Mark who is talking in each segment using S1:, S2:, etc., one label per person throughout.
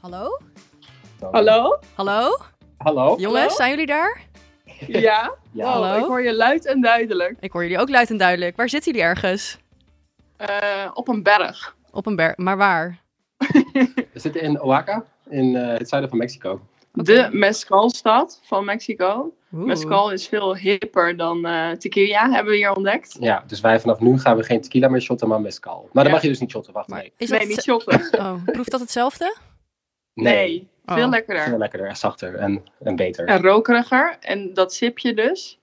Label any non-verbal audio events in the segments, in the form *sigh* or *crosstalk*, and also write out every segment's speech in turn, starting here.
S1: Hallo? Oh,
S2: Hallo?
S1: Hallo?
S3: eh, Hallo?
S1: Jongens,
S2: Hallo?
S1: zijn jullie daar?
S2: Ja?
S3: Ja.
S2: Wow,
S1: Hallo?
S2: Ik hoor je luid en duidelijk.
S1: Ik hoor jullie ook luid en duidelijk. Waar zitten jullie ergens?
S2: Eh, op een berg.
S1: Op een berg, maar waar?
S3: We zitten in Oaxaca, in eh, het zuiden van Mexico.
S2: De mezcalstad van Mexico.
S1: Oeh.
S2: Mezcal is veel hipper dan eh, tequila, hebben we hier ontdekt.
S3: Ja, dus wij vanaf nu gaan we geen tequila meer shotten, maar mezcal. Maar dan
S2: Ja.
S3: mag je dus niet shotten, wacht,
S1: Maar
S3: nee.
S1: is
S2: nee,
S1: dat
S2: niet
S1: het-
S2: shoppen.
S1: Oh, proeft dat hetzelfde?
S2: Nee,
S3: Nee,
S1: Oh.
S2: veel
S3: het is
S2: lekkerder.
S3: veel lekkerder en zachter en, en beter.
S2: En rokeriger. En dat sip je dus.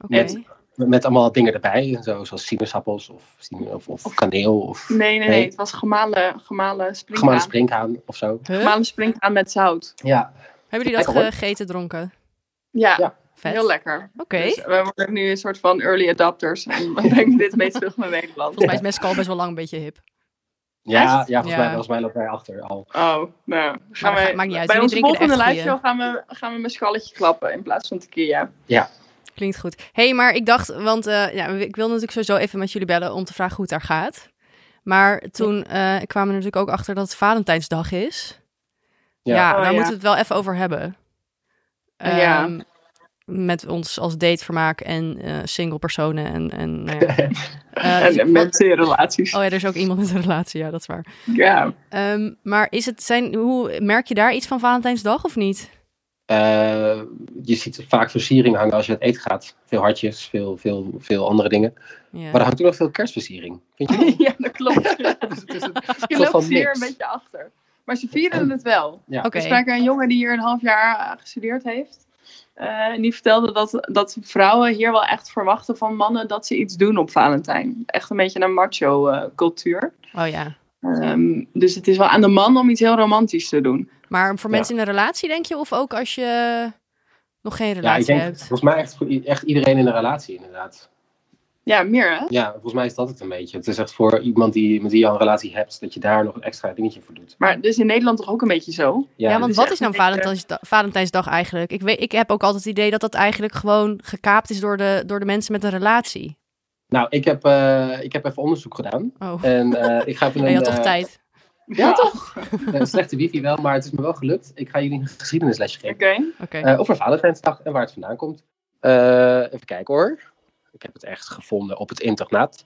S1: Oké.
S3: Net. Met, met allemaal dingen erbij, en zo, zoals sinaasappels of, sin- of, of kaneel of
S2: Nee, nee, nee.
S3: Nee.
S2: Het was gemalen, gemalen
S3: gemalen
S2: springhaan.
S3: springhaan of zo.
S1: Huh?
S2: Gemalen springhaan met zout.
S3: Ja,
S1: Hebben jullie dat
S3: Lekker, hoor.
S1: gegeten, dronken?
S2: Ja,
S3: Ja.
S1: Vet.
S2: heel lekker.
S1: Oké.
S2: Dus we worden nu een soort van early adapters. En *laughs* we brengen dit mee terug naar Nederland.
S1: Volgens mij is mezcal best wel lang een beetje hip.
S3: ja,
S2: Echt?
S3: ja volgens,
S1: Ja.
S3: Mij, volgens mij lopen wij achter al.
S2: Oh, nou. Gaan
S1: dat
S2: wij,
S1: maakt niet uit,
S2: Bij
S1: jullie
S2: ons
S1: drinken de
S2: volgende
S1: echt
S2: lijstje gaan we, gaan we met schalletje klappen in plaats van tequila.
S1: Klinkt goed. Hé, hey, maar ik dacht, want eh, ja, ik wil natuurlijk sowieso even met jullie bellen om te vragen hoe het daar gaat. Maar toen eh, kwamen we natuurlijk ook achter dat het Valentijnsdag is. Ja,
S3: Ja.
S1: daar
S2: Oh, ja. Oh,
S1: moeten we het wel even over hebben. Ehm,
S2: Ja.
S1: Met ons als datevermaak en eh, single personen en, en nou
S2: *laughs*
S1: ja. Eh, dus
S2: en
S1: ik-
S2: met eh, relaties.
S1: Oh ja, er is ook iemand met een relatie, ja, dat is waar.
S2: Ja.
S1: Ehm, maar is het, zijn, hoe, merk je daar iets van Valentijnsdag of niet?
S3: Eh, je ziet vaak versiering hangen als je het eten gaat. Veel hartjes, veel, veel, veel andere dingen.
S1: Ja.
S3: Maar er hangt ook nog veel kerstversiering, vind je niet?
S2: *laughs* ja, dat *laughs* klopt.
S3: Dus het is een-
S2: Je
S3: soort van
S2: loopt hier
S3: mix.
S2: een beetje achter. Maar ze vieren het wel.
S1: Oké.
S2: We spraken een jongen die hier een half jaar eh, gestudeerd heeft. Eh, en die vertelde dat, dat vrouwen hier wel echt verwachten van mannen dat ze iets doen op Valentijn. Echt een beetje een macho-cultuur.
S1: Oh ja.
S2: Ehm, dus het is wel aan de man om iets heel romantisch te doen.
S1: Maar voor
S3: Ja.
S1: mensen in een relatie, denk je? Of ook als je nog geen
S3: Ja, ik
S1: relatie
S3: denk
S1: hebt?
S3: volgens mij echt, voor i- echt iedereen in een relatie, inderdaad.
S2: Ja, meer hè?
S3: Ja, volgens mij is dat het een beetje. Het is echt voor iemand die, met wie je al een relatie hebt, dat je daar nog een extra dingetje voor doet.
S2: Maar dus in Nederland toch ook een beetje zo?
S1: Ja,
S3: dus-
S1: want
S2: dus
S1: wat
S2: echt
S1: is nou
S2: een beetje-
S3: eh,
S1: Valentijnsda- Valentijnsdag eigenlijk? Ik, weet, ik heb ook altijd het idee dat dat eigenlijk gewoon gekaapt is door de, door de mensen met een relatie.
S3: Nou, ik heb, eh, ik heb even onderzoek gedaan.
S1: Oh,
S3: En eh, ik ga even
S1: Ja, *laughs*
S3: een...
S1: je had toch
S3: eh,
S1: tijd?
S2: *laughs*
S3: Ja, toch? *laughs* Eh, slechte wifi wel, maar het is me wel gelukt. Ik ga jullie een geschiedenislesje
S2: Oké.
S3: geven. Eh over Valentijnsdag en waar het vandaan komt. Eh, even kijken hoor. Ik heb het echt gevonden op het internaat.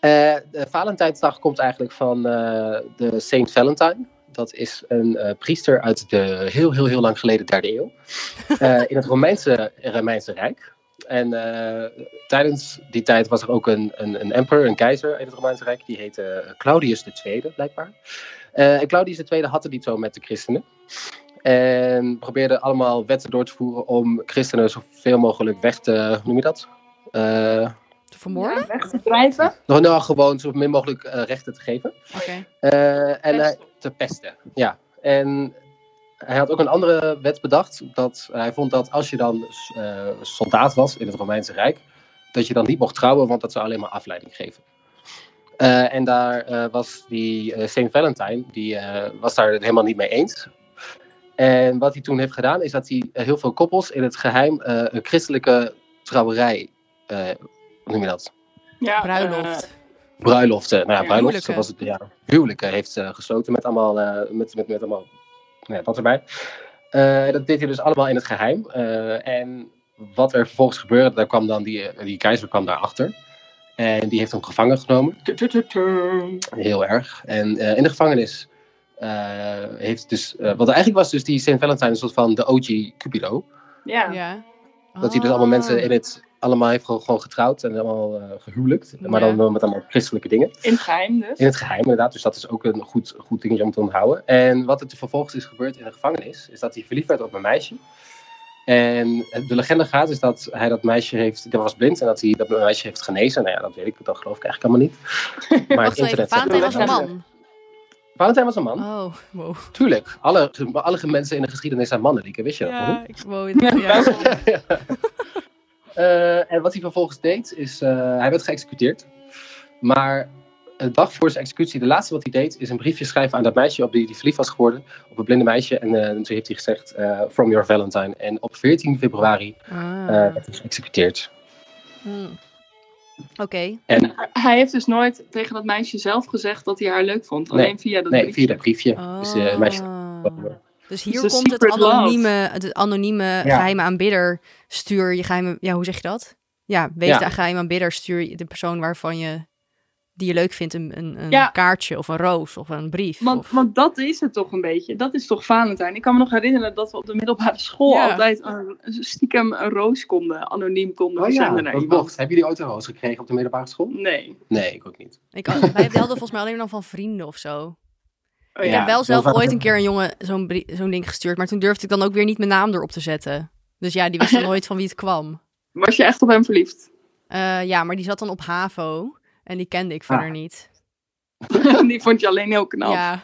S3: Eh, de Valentijnsdag komt eigenlijk van eh, de Saint Valentine. Dat is een eh, priester uit de heel, heel, heel lang geleden derde eeuw. Eh, in het Romeinse, Romeinse Rijk. En eh, tijdens die tijd was er ook een, een, een emperor, een keizer in het Romeinse Rijk. Die heette eh, Claudius II, blijkbaar. Eh, en Claudius II had het niet zo met de christenen. En probeerde allemaal wetten door te voeren om christenen zoveel mogelijk weg te. Hoe noem je dat? Eh,
S1: Te vermoorden?
S2: weg te drijven?
S3: nou, nou, gewoon zo min mogelijk eh, rechten te geven.
S1: Oké.
S3: Eh, en hij-
S2: Pesten.
S3: te pesten. Ja. En hij had ook een andere wet bedacht. Dat hij vond dat als je dan eh, soldaat was in het Romeinse Rijk, dat je dan niet mocht trouwen, want dat zou alleen maar afleiding geven. Eh, en daar eh, was die eh, Saint Valentine, die eh, was daar het helemaal niet mee eens. En wat hij toen heeft gedaan, is dat hij eh, heel veel koppels in het geheim eh, een christelijke trouwerij, eh, hoe noem je dat?
S2: Ja, eh,
S1: Bruiloft.
S3: bruiloften, nou ja,
S2: Ja,
S3: bruiloften
S1: huwelijken.
S3: was het, ja, huwelijken heeft eh, gesloten met allemaal, eh, met, met, met allemaal, nou ja, dat erbij. Eh, dat deed hij dus allemaal in het geheim. Eh, en wat er vervolgens gebeurde, daar kwam dan die, eh, die keizer kwam daarachter. En die heeft hem gevangen genomen,
S2: eh, tu- tu- tu- tu.
S3: heel erg. En eh, in de gevangenis eh, heeft dus, eh, want eigenlijk was dus die Saint Valentine een soort van de OG Cupido.
S2: Ja.
S1: Ja.
S3: Dat hij dus allemaal
S1: Ah.
S3: mensen in het, allemaal heeft gewoon gewoon getrouwd en allemaal eh gehuwelijkt. Maar
S1: Ja.
S3: dan wel met allemaal christelijke dingen.
S2: in het geheim dus.
S3: In het geheim, inderdaad. Dus dat is ook een goed, goed dingetje om te onthouden. En wat er vervolgens is gebeurd in de gevangenis, is dat hij verliefd werd op een meisje. En het- de legende gaat is dat hij dat meisje heeft, dat was blind, en dat hij dat meisje heeft genezen. Nou ja, dat weet ik, dat geloof ik eigenlijk allemaal
S1: *laughs*
S3: niet. Maar
S1: Wacht even, Valentijn was
S3: zegt
S1: een
S3: dat wel.
S1: man.
S3: Valentijn was een man,
S1: Oh, wow.
S3: tuurlijk. Alle, alle mensen in de geschiedenis zijn mannen, Lieke, wist je dat? nog?
S1: Ja, ik wow, ja. ja.
S3: *laughs* Eh, en wat hij vervolgens deed, is eh, hij werd geëxecuteerd. Maar een dag voor zijn executie, de laatste wat hij deed, is een briefje schrijven aan dat meisje op wie hij verliefd was geworden. Op een blinde meisje. En eh, toen heeft hij gezegd, eh, from your Valentine. En op 14 februari eh,
S1: Ah.
S3: werd hij geëxecuteerd.
S1: Hmm. Oké.
S2: Hij heeft dus nooit tegen dat meisje zelf gezegd dat hij haar leuk vond.
S3: Nee.
S2: Alleen via dat
S3: Nee,
S2: briefje.
S3: via dat briefje. Dus eh, het meisje
S1: Ah.
S3: komen.
S1: Dus
S2: is
S1: hier
S2: de
S1: komt het
S2: secret love.
S1: anonieme, het anonieme
S3: Ja.
S1: geheime aanbidder. Stuur je geheime. Ja, hoe zeg je dat? Ja, wees
S3: Ja.
S1: de geheime aanbidder. Stuur je de persoon waarvan je. die je leuk vindt een, een, een
S2: Ja.
S1: kaartje of een roos of een brief.
S2: Want,
S1: of-
S2: want dat is het toch een beetje. Dat is toch Valentijn. Ik kan me nog herinneren dat we op de middelbare school
S1: Ja.
S2: altijd een, stiekem een roos konden, anoniem konden
S3: Oh ja,
S2: verzenden naar
S3: dat
S2: iemand.
S3: mocht. Hebben jullie ooit een roos gekregen op de middelbare school?
S2: Nee.
S3: Nee, ik ook niet.
S1: Ik, wij hadden volgens mij alleen dan van vrienden of zo.
S2: Oh,
S1: Ik
S2: ja.
S1: heb wel
S3: dat
S1: zelf
S3: was-
S1: ooit een keer een jongen zo'n brie- zo'n ding gestuurd. Maar toen durfde ik dan ook weer niet mijn naam erop te zetten. Dus ja, die wist
S2: *laughs*
S1: dan nooit van wie het kwam.
S2: Was je echt op hem verliefd? *laughs*
S1: Eh, ja, maar die zat dan op HAVO. En die kende ik verder
S3: Ah.
S1: niet.
S2: Die vond je alleen heel knap. Ja,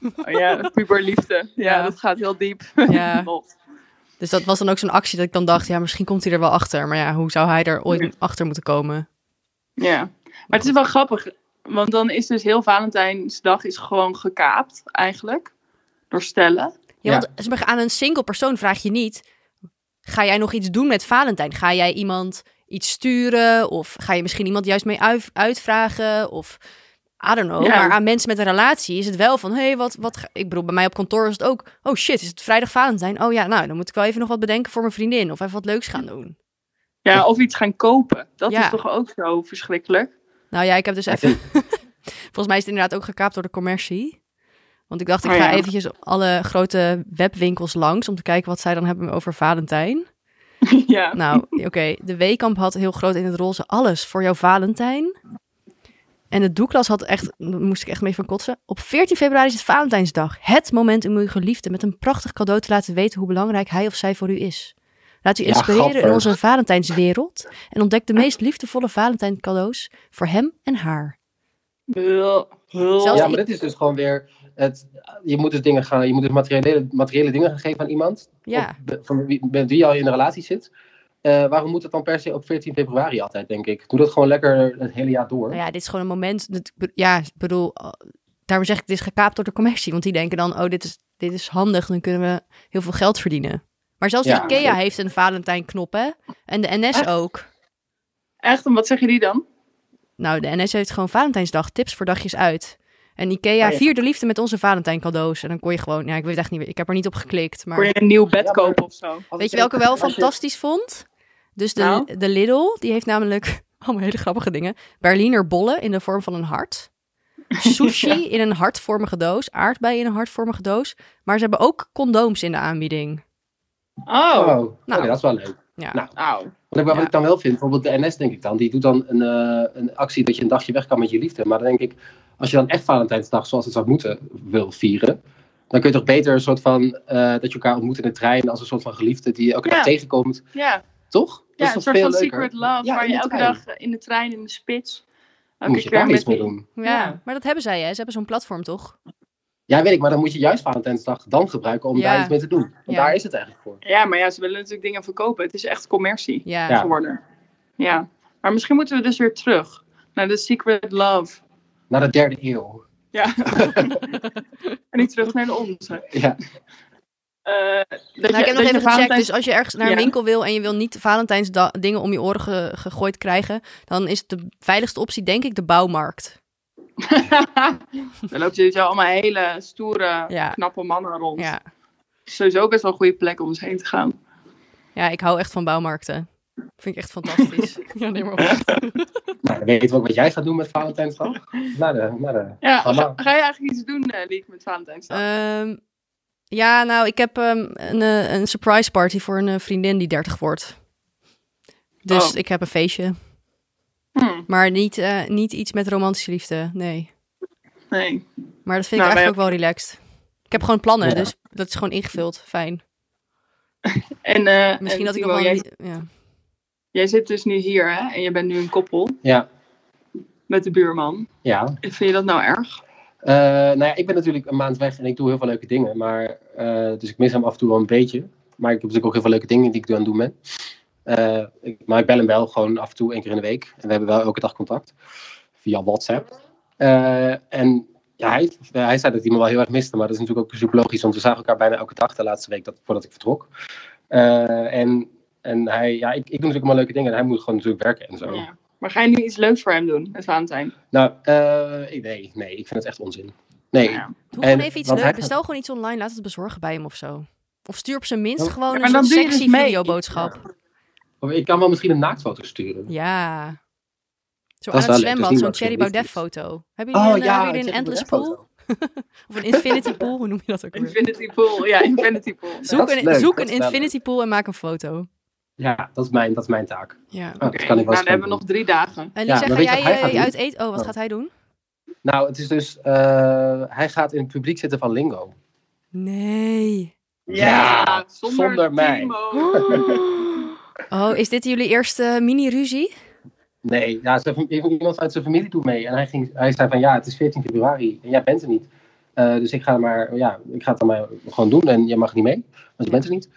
S1: Ja,
S2: oh, ja puberliefde. Ja,
S1: Ja.
S2: dat gaat heel diep.
S1: Ja.
S2: *laughs* Nog.
S1: dus dat was dan ook zo'n actie dat ik dan dacht... ja, misschien komt hij er wel achter. Maar ja, hoe zou hij er ooit
S2: Nee.
S1: achter moeten komen?
S2: Ja, maar het is wel grappig. Want dan is dus heel Valentijnsdag is gewoon gekaapt, eigenlijk. Door stellen.
S1: Ja,
S3: Ja.
S1: want als je aan een single persoon vraag je niet... ga jij nog iets doen met Valentijn? Ga jij iemand iets sturen? Of ga je misschien iemand juist mee uit- uitvragen? Of... I don't know,
S2: Ja.
S1: maar aan mensen met een relatie is het wel van... hé, hey, wat, wat... ga- Ik bedoel, bij mij op kantoor is het ook... oh shit, is het vrijdag Valentijn? Oh ja, nou, dan moet ik wel even nog wat bedenken voor mijn vriendin... of even wat leuks gaan doen.
S2: Ja, of iets gaan kopen. Dat
S1: Ja.
S2: is toch ook zo verschrikkelijk? *laughs*
S1: Nou ja, ik heb dus
S3: Ja,
S1: even. *laughs* Volgens mij is het inderdaad ook gekaapt door de commercie. Want ik dacht, ik
S2: Oh
S1: ga
S2: ja.
S1: eventjes alle grote webwinkels langs om te kijken wat zij dan hebben over Valentijn.
S2: ja. *laughs*
S1: Nou, oké, de Weekamp had heel groot in het roze alles voor jouw Valentijn. En de Doeklas had echt, daar moest ik echt mee van kotsen. Op 14 februari is het Valentijnsdag. Het moment om uw geliefde met een prachtig cadeau te laten weten hoe belangrijk hij of zij voor u is. Laat u
S3: Ja,
S1: inspireren in
S3: gapper.
S1: onze Valentijnswereld en ontdek de meest liefdevolle Valentijn cadeaus voor hem en haar.
S2: Heel, heel-
S1: Zelfs
S3: ja,
S1: die-
S3: maar dit is dus gewoon weer. Het, je moet dus dingen gaan, je moet dus materiële, materiële dingen gaan geven aan iemand.
S1: Ja.
S3: op de- van wie, met wie al in een relatie zit. Eh, waarom moet het dan per se op 14 februari altijd, denk ik? Doe dat gewoon lekker het hele jaar door.
S1: Nou ja, dit is gewoon een moment. Dat, ik be- ja, ik bedoel, eh, daarom zeg ik, dit is gekaapt door de commercie. Want die denken dan, oh, dit is, dit is handig, dan kunnen we heel veel geld verdienen. Maar zelfs
S3: Ja,
S1: de IKEA
S3: dat-
S1: heeft een Valentijnknop, hè? En de NS
S2: Echt?
S1: ook.
S2: Echt, en wat zeg je die dan?
S1: Nou, de NS heeft gewoon Valentijnsdag, tips voor dagjes uit. En IKEA,
S3: Oh ja.
S1: vier de liefde met onze Valentijn cadeaus. En dan kon je gewoon, ja, ik weet het echt niet meer, ik heb er niet op geklikt. Maar
S2: Voor je een nieuw bed
S3: Ja, maar-
S2: kopen of zo?
S3: Als
S1: weet je
S3: ik-
S1: welke ik wel
S3: als je-
S1: fantastisch vond? Dus de,
S2: Nou?
S1: de Lidl, die heeft namelijk *laughs* allemaal hele grappige dingen. Berliner bollen in de vorm van een hart. Sushi in een hartvormige doos. Aardbeien in een hartvormige doos. Maar ze hebben ook condooms in de aanbieding.
S2: Oh,
S3: Oh, oké,
S1: Nou.
S3: dat is wel leuk.
S1: Ja.
S3: Nou,
S2: Au.
S3: Wat ik, wat
S1: Ja.
S3: ik dan wel vind, bijvoorbeeld de NS denk ik dan, die doet dan een, eh, een actie dat je een dagje weg kan met je liefde. Maar dan denk ik, als je dan echt Valentijnsdag zoals het zou moeten wil vieren, dan kun je toch beter een soort van, eh, dat je elkaar ontmoet in de trein als een soort van geliefde die je elke dag
S2: Ja.
S3: tegenkomt,
S2: Ja,
S3: toch? Dat is
S2: ja
S3: toch
S2: een soort
S3: veel
S2: van
S3: leuker?
S2: secret love
S3: Ja,
S2: waar
S3: in
S2: je
S3: de
S2: elke
S3: trein.
S2: dag in de trein in de spits.
S3: Dan
S2: Elke
S3: moet je daar
S2: met
S3: iets mee
S2: die-
S3: doen.
S1: Ja,
S2: Ja.
S1: maar dat hebben zij, hè? Ze hebben zo'n platform, toch?
S3: Ja, weet ik, maar dan moet je juist Valentijnsdag dan gebruiken om
S1: Ja.
S3: daar iets mee te doen. Want
S1: Ja.
S3: daar is het eigenlijk voor.
S2: Ja, maar ja, ze willen natuurlijk dingen verkopen. Het is echt commercie
S1: Ja. Nou,
S3: Ja.
S2: geworden. Ja, maar misschien moeten we dus weer terug naar de secret love.
S3: Na de derde eeuw.
S2: Ja. en niet terug naar de
S3: *laughs*
S2: onze.
S3: Ja,
S2: Eh, dat
S1: Nou,
S2: je-
S1: ik heb nog
S2: dat je
S1: even gecheckt.
S2: Valentijns-
S1: Dus als je ergens naar een
S2: Ja.
S1: winkel wil en je wil niet Valentijns dingen om je oren ge- gegooid krijgen, dan is de veiligste optie denk ik de bouwmarkt.
S2: *laughs* Dan loopt jullie zo allemaal hele stoere,
S1: Ja.
S2: knappe mannen rond.
S1: Ja.
S2: Sowieso best wel een goede plek om eens heen te gaan.
S1: ja, ik hou echt van bouwmarkten. Vind ik echt
S2: *laughs*
S1: fantastisch. ja, neem maar op.
S3: nou, dan weten we ook wat jij gaat doen met Valentijnsdag.
S2: *laughs*
S3: Na de, na de...
S2: Ja,
S3: Ga
S2: ga,
S3: maar.
S2: ga je eigenlijk iets doen, eh Liek, met Valentijnsdag?
S1: Ehm, ja, nou, ik heb ehm, een, eh, een surprise party voor een eh, vriendin die 30 wordt. Dus
S2: Oh.
S1: ik heb een feestje.
S2: Hmm,
S1: Maar niet, eh, niet iets met romantische liefde, nee.
S2: nee.
S1: Maar dat vind
S2: Nou,
S1: ik
S2: wij-
S1: eigenlijk ook wel relaxed. Ik heb gewoon plannen,
S3: Ja.
S1: dus dat is gewoon ingevuld. Fijn.
S2: En, eh,
S1: Misschien
S2: en
S1: dat ik nog
S2: Timo,
S1: wel...
S2: Jij,
S1: een- Ja.
S2: jij zit dus nu hier, hè? En je bent nu een koppel
S3: Ja,
S2: met de buurman.
S3: ja.
S2: Vind je dat nou erg?
S3: Eh, nou ja, ik ben natuurlijk een maand weg en ik doe heel veel leuke dingen. Maar, eh, dus ik mis hem af en toe wel een beetje. Maar ik heb natuurlijk ook heel veel leuke dingen die ik aan het doen ben. Eh, ik- maar ik bel hem wel gewoon af en toe één keer in de week. En we hebben wel elke dag contact. Via WhatsApp. Eh, en ja, hij, hij zei dat hij me wel heel erg miste. Maar dat is natuurlijk ook super logisch. Want we zagen elkaar bijna elke dag de laatste week dat, voordat ik vertrok. Eh, en en hij, ja, ik, ik doe natuurlijk allemaal leuke dingen. En hij moet gewoon natuurlijk werken en zo.
S2: Ja. Maar ga je nu iets leuks voor hem doen met Valentijn?
S3: Nou, eh, nee, nee, ik vind het echt onzin. Nee.
S2: Ja.
S1: Doe
S3: En-
S1: gewoon even iets
S3: want hij
S1: leuks.
S3: gaat-
S1: Bestel gewoon iets online. Laat het bezorgen bij hem of zo. Of stuur op zijn minst
S3: Ja,
S1: gewoon
S2: maar
S1: een
S2: dan
S1: soort
S2: doe je dus
S1: sexy
S2: mee.
S1: videoboodschap.
S3: Of Ik kan wel misschien een naaktfoto sturen.
S1: Ja. Zo
S3: Dat
S1: aan het
S3: is wel leuk, dat
S1: zwembad,
S3: is
S1: zo'n
S3: niet
S1: Cherry
S3: wat
S1: Baudet
S3: geliefd is. Oh,
S1: foto. Hebben jullie een, eh, hebben jullie
S3: ik
S1: een
S3: heb
S1: endless
S3: naaktfoto.
S1: pool? *laughs* Of een infinity pool? Hoe noem je dat ook weer?
S2: Infinity Pool, ja, Infinity Pool.
S1: Zoek
S3: is
S1: een,
S3: leuk,
S1: zoek
S3: dat
S1: een
S3: is wel leuk.
S1: infinity pool en maak een foto.
S3: Ja, dat is mijn, dat is mijn taak.
S1: Ja.
S3: Ah,
S2: Oké,
S3: dat kan ik wel
S2: nou,
S3: eens
S2: dan hebben we
S3: gaan
S2: nog drie dagen.
S1: En
S3: Ja,
S1: Lisa,
S3: maar
S1: ga
S3: weet je
S1: jij
S3: wat hij gaat
S1: eh, je
S3: doen?
S1: uit eten? Oh, wat
S3: Oh.
S1: gaat hij doen?
S3: doen. Nou, het is dus, eh, hij gaat in het publiek zitten van Lingo.
S1: Nee.
S3: Ja,
S2: zonder,
S3: zonder mij.
S2: Timo.
S1: Oh, is dit jullie eerste mini-ruzie?
S3: Nee, ja, zijn fam- even iemand uit zijn familie doet mee. En hij, ging, hij zei van, ja, het is 14 februari en jij bent er niet. Eh, dus ik ga, maar, ja, ik ga het dan maar gewoon doen en jij mag niet mee. Want je bent er niet.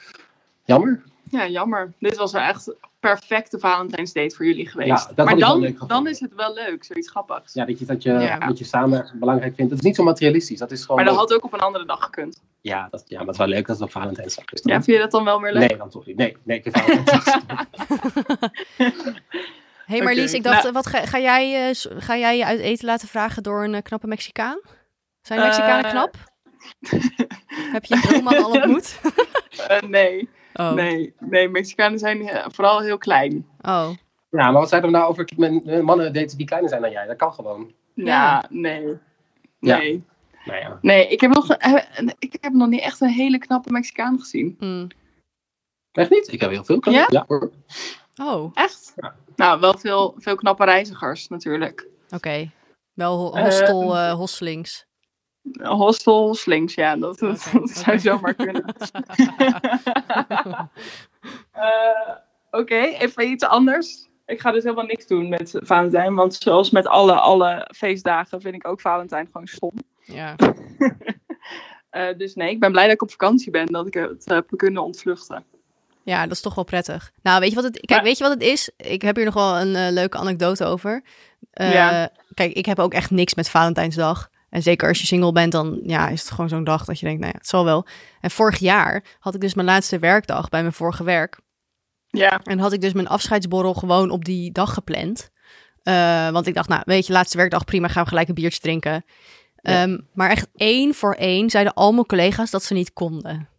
S3: Jammer.
S2: Ja, jammer. Dit was wel echt perfecte Valentijnsdate voor jullie
S3: Ja,
S2: geweest.
S3: dat had
S2: maar
S3: ik wel
S2: dan,
S3: leuk gevonden.
S2: dan is het wel leuk, zoiets grappigs.
S3: Ja, dat je, dat je,
S2: Ja.
S3: dat je samen belangrijk vindt. Dat is niet zo materialistisch. Dat is gewoon...
S2: maar dat
S3: leuk.
S2: had ook op een andere dag gekund.
S3: ja, dat, ja, maar het is wel leuk dat het op Valentijnsdag is.
S2: Ja,
S3: dan.
S2: vind je dat dan wel weer leuk?
S3: nee, dan toch niet. Nee, nee, ik vind
S2: *laughs*
S3: Valentijnsdag.
S1: Hé, hey, maar
S2: Oké,
S1: Lies, ik dacht,
S2: nou-
S1: eh, wat ga, ga, jij, eh, s- ga jij je uit eten laten vragen door een eh, knappe Mexicaan? Zijn Mexicanen
S2: Eh.
S1: knap?
S2: *laughs*
S1: Heb je je droomman al ontmoet?
S2: Eh, nee.
S1: Oh.
S2: nee, nee, Mexicanen zijn eh, vooral heel klein.
S1: oh.
S3: ja, maar wat zei er nou over men- mannen daten die kleiner zijn dan jij? Dat kan gewoon.
S2: Ja,
S1: Ja.
S2: nee.
S3: Ja.
S2: Nee.
S3: Nou ja.
S2: Nee, ik heb, nog, eh, ik heb nog niet echt een hele knappe Mexicaan gezien.
S1: mm.
S3: Echt niet? Ik heb heel veel
S2: Ja?
S3: klanten. Ja? hoor.
S1: Oh, oké.
S2: Echt? Nou, wel veel, veel knappe reizigers natuurlijk.
S1: Wel ho-
S2: Eh.
S1: hostel, eh, hostelings.
S2: Hostel, slings, ja, dat, dat,
S1: Oké,
S2: dat zou
S1: oké.
S2: zomaar
S1: *laughs*
S2: kunnen. Eh, Oké, even iets anders. Ik ga dus helemaal niks doen met Valentijn, want zoals met alle, alle feestdagen vind ik ook Valentijn gewoon stom.
S1: ja.
S2: Eh, dus nee, ik ben blij dat ik op vakantie ben, dat ik het eh, heb kunnen ontvluchten.
S1: ja, dat is toch wel prettig. Nou, weet je wat het, kijk,
S2: Maar-
S1: weet je wat het is? Ik heb hier nog wel een eh, leuke anekdote over. Eh,
S2: Ja.
S1: Kijk, ik heb ook echt niks met Valentijnsdag. En zeker als je single bent, dan ja, is het gewoon zo'n dag dat je denkt, nou ja, het zal wel. En vorig jaar had ik dus mijn laatste werkdag bij mijn vorige werk.
S2: Ja,
S1: En had ik dus mijn afscheidsborrel gewoon op die dag gepland. Eh, want ik dacht, nou, weet je, laatste werkdag, prima, gaan we gelijk een biertje drinken.
S3: Ja.
S1: Ehm, maar echt één voor één zeiden al mijn collega's dat ze niet konden.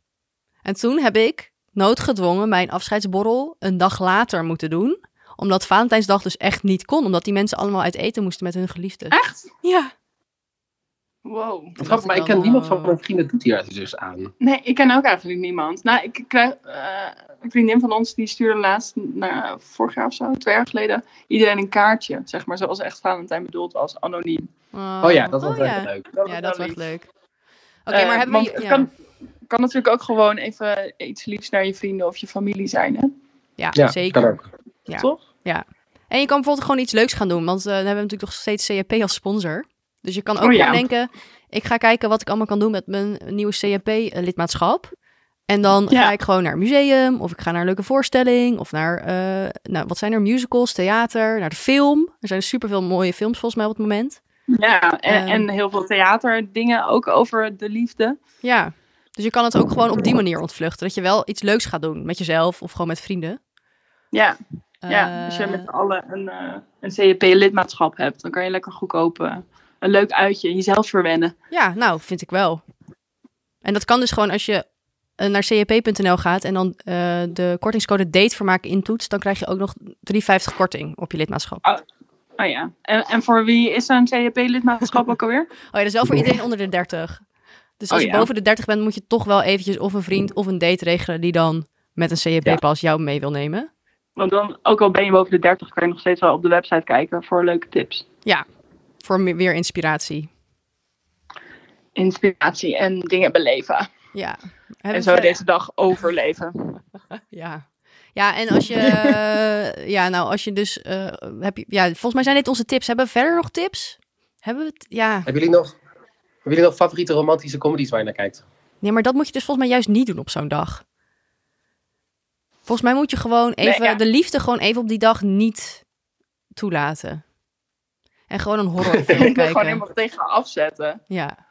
S1: En toen heb ik noodgedwongen mijn afscheidsborrel een dag later moeten doen. Omdat Valentijnsdag dus echt niet kon. Omdat die mensen allemaal uit eten moesten met hun geliefden.
S2: echt?
S1: Ja.
S2: Wow.
S3: Wat grappig, maar ik ken niemand van mijn
S2: eh,
S3: vrienden doet hier dus aan.
S2: Nee, ik ken ook eigenlijk niemand. Nou, ik krijg, eh, een vriendin van ons die stuurde laatst, nou, vorig jaar of zo, twee jaar geleden, iedereen een kaartje, zeg maar, zoals echt Valentijn bedoeld was, anoniem.
S3: Oh ja, dat was
S1: was
S3: wel heel leuk.
S2: Dat
S1: Ja,
S2: was
S1: dat
S2: wel
S1: was echt
S2: lief.
S1: leuk. Oké,
S2: Eh,
S1: maar hebben
S2: want
S1: we...
S2: het
S1: ja.
S2: kan, kan natuurlijk ook gewoon even iets liefs naar je vrienden of je familie zijn, hè?
S1: ja,
S3: Ja,
S1: zeker.
S3: kan ook.
S1: Ja.
S2: Toch?
S1: En je kan bijvoorbeeld gewoon iets leuks gaan doen. Want eh, dan hebben we natuurlijk nog steeds CAP als sponsor. Dus je kan ook
S2: Oh ja.
S1: gewoon denken... ik ga kijken wat ik allemaal kan doen met mijn nieuwe CAP-lidmaatschap. eh, En dan
S2: Ja.
S1: ga ik gewoon naar een museum... of ik ga naar een leuke voorstelling... of naar, eh, nou, wat zijn er, musicals, theater, naar de film. Er zijn superveel mooie films volgens mij op het moment.
S2: Ja, en,
S1: Ehm.
S2: en heel veel theaterdingen ook over de liefde.
S1: Ja, dus je kan het ook gewoon op die manier ontvluchten. Dat je wel iets leuks gaat doen met jezelf of gewoon met vrienden.
S2: Ja, ja.
S1: Eh,
S2: als je met z'n allen een, eh, een CEP-lidmaatschap hebt, dan kan je lekker goedkoop eh, een leuk uitje jezelf verwennen.
S1: Ja, nou, vind ik wel. En dat kan dus gewoon als je eh, naar cap.nl gaat en dan eh, de kortingscode datevermaak intoetst, dan krijg je ook nog 3,50 korting op je lidmaatschap.
S2: Oh ja, en, en voor wie is zo'n CEP-lidmaatschap ook alweer? *laughs*
S1: Oh ja, dat is wel voor iedereen onder de 30. Dus als
S2: Oh
S1: je
S2: ja.
S1: boven de 30 bent, moet je toch wel eventjes of een vriend of een date regelen die dan met een CAP-pas jou mee wil nemen.
S2: Want dan, ook al ben je boven de 30, kan je nog steeds wel op de website kijken voor leuke tips.
S1: Voor me- weer inspiratie.
S2: Inspiratie en dingen beleven.
S1: Ja.
S2: En
S1: Hebben
S2: zo
S1: we-
S2: deze dag
S1: *laughs*
S2: overleven.
S1: Ja. Ja, en als je, eh, *laughs* ja, nou, als je dus, eh, heb je, ja, volgens mij zijn dit onze tips. Hebben we verder nog tips? Hebben we het, ja.
S3: Hebben jullie nog, hebben jullie nog favoriete romantische comedies waar je naar kijkt?
S1: Nee, maar dat moet je dus volgens mij juist niet doen op zo'n dag. Volgens mij moet je gewoon
S2: Nee,
S1: even
S2: ja.
S1: de liefde gewoon even op die dag niet toelaten. En gewoon een
S2: *laughs*
S1: horrorfilm
S2: Ik wil gewoon
S1: kijken.
S2: helemaal tegen afzetten.
S1: Ja.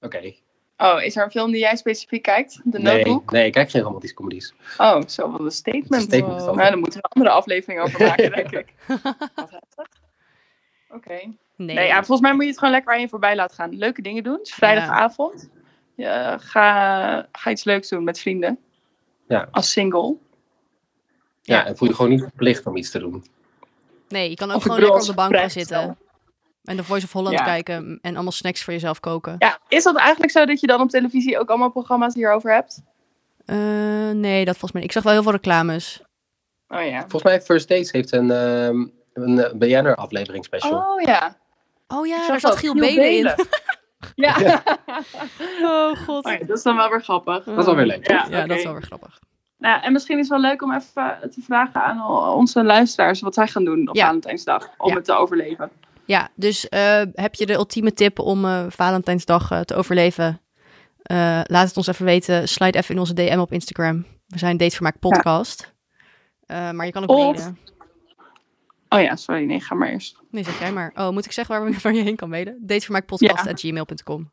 S3: Oké.
S2: Oh, is er een film die jij specifiek kijkt? De
S3: Nee,
S2: Notebook?
S3: nee, ik kijk geen romantische comedies.
S2: Oh, zo, wat een statement.
S3: Statement is dat.
S1: *laughs*
S2: Nou, daar moeten we een andere aflevering over maken, denk ik. Wat heftig. Oké,
S1: Nee.
S2: Nee, ja, volgens mij moet je het gewoon lekker aan je voorbij laten gaan. Leuke dingen doen. Het is vrijdagavond. Ja, ga, ga iets leuks doen met vrienden.
S3: Ja.
S2: Als single.
S3: Ja, en voel je gewoon niet verplicht om iets te doen.
S1: nee, je kan ook
S2: Of ik
S1: gewoon lekker
S2: bedoel,
S1: op
S2: als
S1: de bank gaan
S2: vrijgezel.
S1: zitten. En de Voice of Holland
S2: Ja.
S1: kijken en allemaal snacks voor jezelf koken.
S2: Ja, is dat eigenlijk zo dat je dan op televisie ook allemaal programma's hierover hebt?
S1: Eh, nee, dat volgens mij niet. Ik zag wel heel veel reclames.
S2: Oh ja.
S3: Volgens mij First Dates heeft een, ehm een eh, BNR aflevering special.
S2: Oh ja.
S1: Oh
S2: Ik
S1: ja,
S2: zag
S1: daar zat
S2: dat.
S1: Giel Belen in. *laughs*
S2: Ja.
S1: Oh god.
S2: *laughs* Oh ja, Dat is dan wel weer grappig.
S3: Dat is wel weer leuk.
S2: Ja,
S1: Ja, dat is wel
S2: oké.
S1: weer grappig.
S2: Nou, ja, en misschien is het wel leuk om even te vragen aan onze luisteraars wat zij gaan doen op
S1: Ja.
S2: Valentijnsdag om
S1: Ja.
S2: het te overleven.
S1: Ja, dus eh, heb je de ultieme tip om eh, Valentijnsdag eh, te overleven? Eh, laat het ons even weten. Slide even in onze DM op Instagram. We zijn Datevermaak Podcast. Eh, maar je kan ook
S2: Of-
S1: mailen.
S2: Oh ja, sorry, nee, ga maar eerst.
S1: Nee, zeg jij maar. Oh, moet ik zeggen waar, we, *laughs* waar je heen kan mailen? Datevermaakpodcast.gmail.com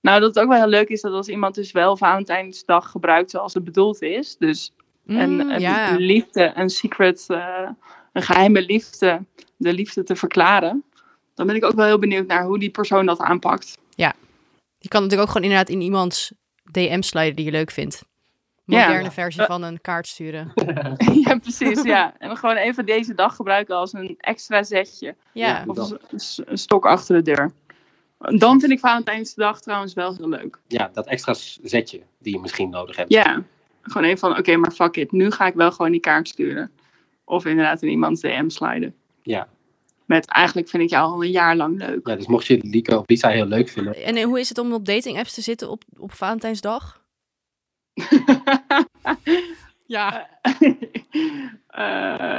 S2: Nou, dat het ook wel heel leuk is dat als iemand dus wel Valentijnsdag gebruikt zoals het bedoeld is, dus een,
S1: Mm,
S2: een
S1: ja.
S2: liefde, een secret, eh, een geheime liefde, de liefde te verklaren, dan ben ik ook wel heel benieuwd naar hoe die persoon dat
S1: *laughs*
S2: aanpakt.
S1: Je kan natuurlijk ook gewoon inderdaad in iemands DM sliden die je leuk vindt. Moderne versie van een kaart sturen.
S2: ja, *laughs* precies, ja. En gewoon even deze dag gebruiken als een extra zetje.
S1: Ja,
S2: Of
S3: Dat.
S2: een, s- een stok achter de deur. Dan vind ik Valentijnsdag trouwens wel heel leuk.
S3: Ja, dat extra zetje die je misschien nodig hebt.
S2: Ja, gewoon even van, oké, maar fuck it. Nu ga ik wel gewoon die kaart sturen. Of inderdaad in iemands DM sliden.
S3: Ja.
S2: Met eigenlijk vind ik jou al een jaar lang
S3: *laughs*
S2: leuk.
S3: Ja, dus mocht je Lico of Lisa heel leuk vinden,
S1: En eh, hoe is het om op dating apps te zitten op, op Valentijnsdag? Ja.
S2: Eh,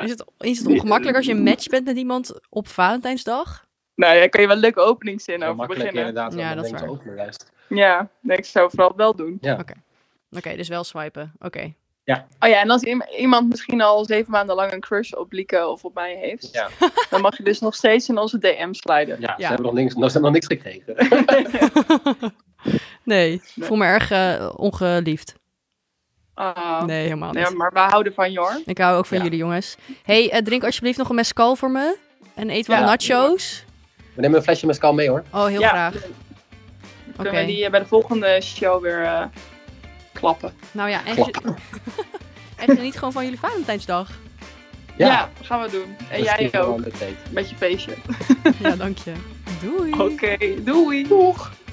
S1: Is het, is het ongemakkelijk als je een match bent met iemand op Valentijnsdag?
S2: nou, daar kun je wel een leuke openingszin
S3: heel
S2: over
S3: makkelijk
S2: beginnen.
S3: inderdaad.
S1: Ja,
S3: Ja,
S1: dat
S3: dat
S1: is
S3: denkt
S1: waar.
S3: ook juist.
S2: Ja, nee, ik zou het vooral wel doen.
S1: Oké, dus wel swipen. Oké.
S2: Oh ja, en als i- iemand misschien al zeven maanden lang een crush op Lieke of op mij heeft,
S3: Ja.
S2: dan mag je dus nog steeds in onze DM sliden.
S3: Ja, ze
S1: Ja.
S3: hebben nog niks, ze hebben nog niks gekregen. *laughs*
S2: *laughs*
S1: Nee, ik voel me erg eh, ongeliefd.
S2: Ah.
S1: Nee, helemaal
S2: Nee,
S1: niet.
S2: maar we houden van je hoor.
S1: Ik hou ook van
S3: Ja.
S1: jullie, jongens. hey, eh, drink alsjeblieft nog een mescal voor me. En eet wat
S3: Ja.
S1: nachos.
S3: We nemen een flesje mescal mee hoor.
S1: Oh, heel
S2: Ja.
S1: graag.
S2: Dan
S1: Oké.
S2: kunnen we die eh, bij de volgende show weer eh, klappen.
S1: Nou ja, en, ge- *laughs* en geniet gewoon van jullie Valentijnsdag.
S2: Ja. gaan we doen. En jij ook, met je feestje.
S1: Ja, dank je. Doei.
S2: Oké, doei. Doeg.